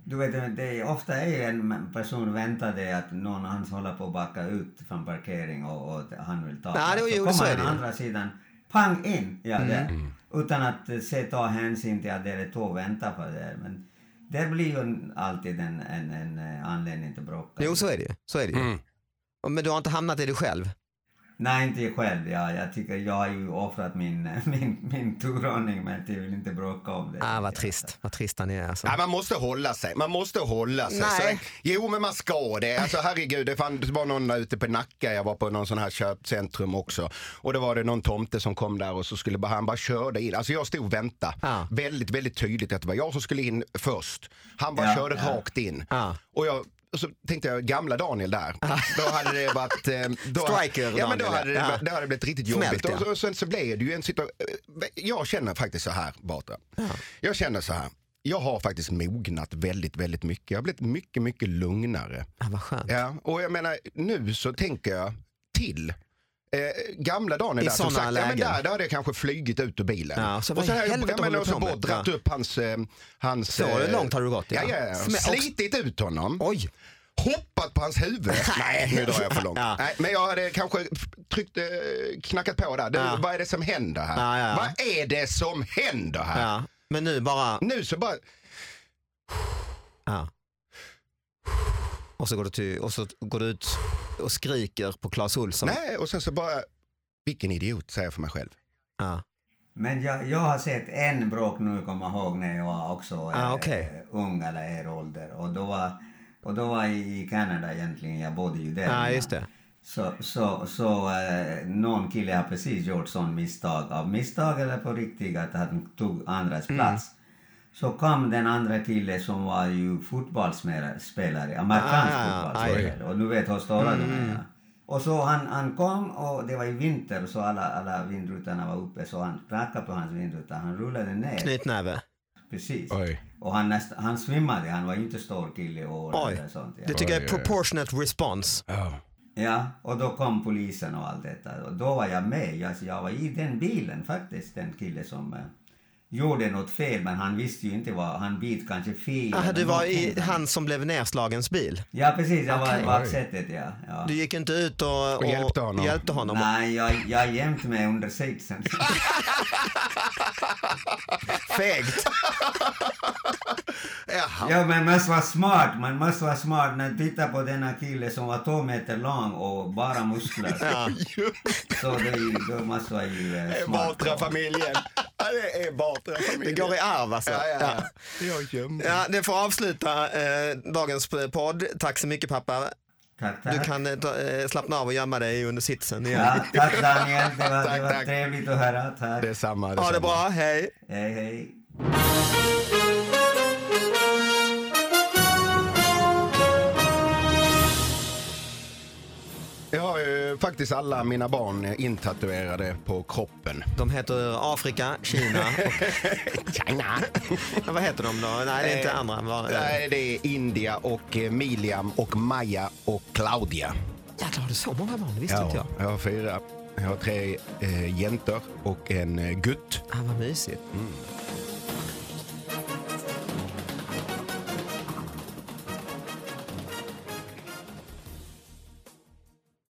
[SPEAKER 3] Du vet, det är, ofta är ju en person väntade att någon han håller på att backa ut från parkering och, och han vill ta
[SPEAKER 2] Ja, det-
[SPEAKER 3] plats.
[SPEAKER 2] jo,
[SPEAKER 3] så
[SPEAKER 2] så är det
[SPEAKER 3] kommer han
[SPEAKER 2] ju. Mhm.
[SPEAKER 3] andra sidan, pang in! Ja, där. Utan att eh, se, ta hänsyn till att det är två väntar på det. Men Det blir ju alltid en, en, en eh, anledning till bråk.
[SPEAKER 2] Jo, så är det ju. Så är det ju.
[SPEAKER 4] Mm.
[SPEAKER 2] Men du har inte hamnat i det själv?
[SPEAKER 3] Nej, inte jag själv. Jag, jag tycker jag har ju offrat min, min, min turordning, men jag vill inte bråka om det.
[SPEAKER 2] Ah, vad trist. Vad trist han är alltså.
[SPEAKER 4] Nej, man måste hålla sig. Man måste hålla sig.
[SPEAKER 2] Nej.
[SPEAKER 4] Så, jo, men man ska det. Alltså, herregud, det, fann, det var någon där ute på Nacka. Jag var på någon sån här köpcentrum också. Och då var det någon tomte som kom där och så skulle bara, han bara körde in. Alltså jag stod och väntade.
[SPEAKER 2] Ja.
[SPEAKER 4] Väldigt, väldigt tydligt att det var jag som skulle in först. Han bara
[SPEAKER 3] Ja,
[SPEAKER 4] körde
[SPEAKER 3] ja.
[SPEAKER 4] rakt in.
[SPEAKER 2] Ja.
[SPEAKER 4] Och jag och så tänkte jag, gamla Daniel där. Då hade det varit... eh, Då,
[SPEAKER 2] Striker
[SPEAKER 4] ja, men då
[SPEAKER 2] Daniel,
[SPEAKER 4] hade,
[SPEAKER 2] ja.
[SPEAKER 4] det, då hade det blivit riktigt
[SPEAKER 2] Smält,
[SPEAKER 4] jobbigt.
[SPEAKER 2] ja.
[SPEAKER 4] Och, så, och sen så blev det ju en situation. Jag känner faktiskt så här, Batra. Jag känner så här. Jag har faktiskt mognat väldigt, väldigt mycket. Jag har blivit mycket, mycket lugnare.
[SPEAKER 2] Ah, vad skönt.
[SPEAKER 4] Ja, och jag menar, nu så tänker jag till. Eh, gamla Daniel
[SPEAKER 2] I
[SPEAKER 4] där som
[SPEAKER 2] såna
[SPEAKER 4] sagt, ja, men
[SPEAKER 2] lägen.
[SPEAKER 4] där, där hade jag kanske flugit ut ur bilen.
[SPEAKER 2] Ja, så vad
[SPEAKER 4] och så
[SPEAKER 2] i
[SPEAKER 4] har jag,
[SPEAKER 2] helvete
[SPEAKER 4] jag menar,
[SPEAKER 2] håller
[SPEAKER 4] och
[SPEAKER 2] du
[SPEAKER 4] så
[SPEAKER 2] på
[SPEAKER 4] bara
[SPEAKER 2] med?
[SPEAKER 4] dratt
[SPEAKER 2] Ja.
[SPEAKER 4] upp hans... Eh, hans eh,
[SPEAKER 2] Så långt har du gått, ja.
[SPEAKER 4] Ja, ja, ja.
[SPEAKER 2] Smä- och-
[SPEAKER 4] Slitit ut honom
[SPEAKER 2] Oj!
[SPEAKER 4] hoppat på hans huvud. Nej, nu drar jag för långt.
[SPEAKER 2] Ja.
[SPEAKER 4] Nej, men jag hade kanske tryckt, eh, knackat på där. Du,
[SPEAKER 2] Ja.
[SPEAKER 4] Vad är det som händer här?
[SPEAKER 2] Ja, ja, ja.
[SPEAKER 4] Vad är det som händer här?
[SPEAKER 2] Ja. Men nu bara...
[SPEAKER 4] Nu så bara,
[SPEAKER 2] Ja. Och så går du, till, och så går du ut och skriker på Clas Ohlson.
[SPEAKER 4] nej, och sen så bara, vilken idiot säger jag för mig själv.
[SPEAKER 2] Ja.
[SPEAKER 3] Men jag, jag har sett en bråk nu, kommer jag ihåg, när jag var också
[SPEAKER 2] Ah, okej.
[SPEAKER 3] eh, ung eller er ålder. Och då var, och då var jag i Kanada egentligen, jag bodde ju där.
[SPEAKER 2] Ja,
[SPEAKER 3] innan.
[SPEAKER 2] Ah, just det.
[SPEAKER 3] Så, så, så eh, någon kille har precis gjort sån misstag, av misstag eller på riktigt, att han tog andras
[SPEAKER 2] Mm.
[SPEAKER 3] plats. Så kom den andra killen som var ju fotbollsspelare, amerikansk
[SPEAKER 2] Ah, Mm.
[SPEAKER 3] fotbollsspelare, och nu vet hur stora de är. ja. Och så han, han kom och det var i vinter så alla, alla vindrutorna var uppe så han knackade på hans vindruta, han rullade ner.
[SPEAKER 2] Knytnäve.
[SPEAKER 3] Precis.
[SPEAKER 4] Oj.
[SPEAKER 3] Och han, näst, han svimmade, han var ju inte stor kille och
[SPEAKER 2] Oj.
[SPEAKER 3] eller sånt. ja.
[SPEAKER 2] Det tycker jag är
[SPEAKER 4] Oj, oj, oj.
[SPEAKER 2] proportionate response.
[SPEAKER 3] Ja, och då kom polisen och allt detta. Och då var jag med. Jag, jag var i den bilen faktiskt, den kille som eh, gjorde något fel, men han visste ju inte vad, han bit kanske fel.
[SPEAKER 2] Aha,
[SPEAKER 3] eller
[SPEAKER 2] Ah, du var i
[SPEAKER 3] någonting.
[SPEAKER 2] han som blev nerslagens bil.
[SPEAKER 3] Ja, precis, jag var
[SPEAKER 2] Okej.
[SPEAKER 3] i baksätet, ja. ja.
[SPEAKER 2] Du gick inte ut och,
[SPEAKER 4] Och hjälpte honom.
[SPEAKER 2] hjälpte honom.
[SPEAKER 3] Nej, jag, jag jämte mig under sitsen.
[SPEAKER 2] Fegt.
[SPEAKER 4] Jaha.
[SPEAKER 3] ja, men man måste vara smart, man måste vara smart. När titta på denna kille som var två meter lång och bara muskler.
[SPEAKER 2] Ja.
[SPEAKER 3] Så det, är ju- då måste vara ju eh, smart.
[SPEAKER 4] Batra-familjen. Ja, det är
[SPEAKER 2] Det
[SPEAKER 4] Batra-familjen.
[SPEAKER 2] går i arv alltså.
[SPEAKER 4] Ja, ja,
[SPEAKER 2] Ja.
[SPEAKER 4] ja. Jag gömde.
[SPEAKER 2] Ja, det får avsluta eh, dagens podd. Tack så mycket pappa.
[SPEAKER 3] Tack, tack.
[SPEAKER 2] Du kan eh, ta- eh, slappna av och gömma dig under sitsen igen.
[SPEAKER 3] Ja, tack Daniel, det var,
[SPEAKER 4] Tack,
[SPEAKER 3] det var
[SPEAKER 4] tack.
[SPEAKER 3] trevligt att höra. Tack.
[SPEAKER 4] Detsamma.
[SPEAKER 2] Ha det
[SPEAKER 4] detsamma.
[SPEAKER 2] bra, hej.
[SPEAKER 3] Hej, hej.
[SPEAKER 4] Jag har ju faktiskt alla mina barn intatuerade på kroppen.
[SPEAKER 2] De heter Afrika, Kina
[SPEAKER 4] China.
[SPEAKER 2] och vad heter de då? Nej, det är inte
[SPEAKER 4] Eh,
[SPEAKER 2] andra. Var,
[SPEAKER 4] Nej, det är India och eh, Miliam och Maja och Claudia.
[SPEAKER 2] Jävlar, har du så många barn? Det visste inte jag.
[SPEAKER 4] jag har fyra. Jag har tre eh, jäntor och en eh, gutt.
[SPEAKER 2] Ah, vad mysigt.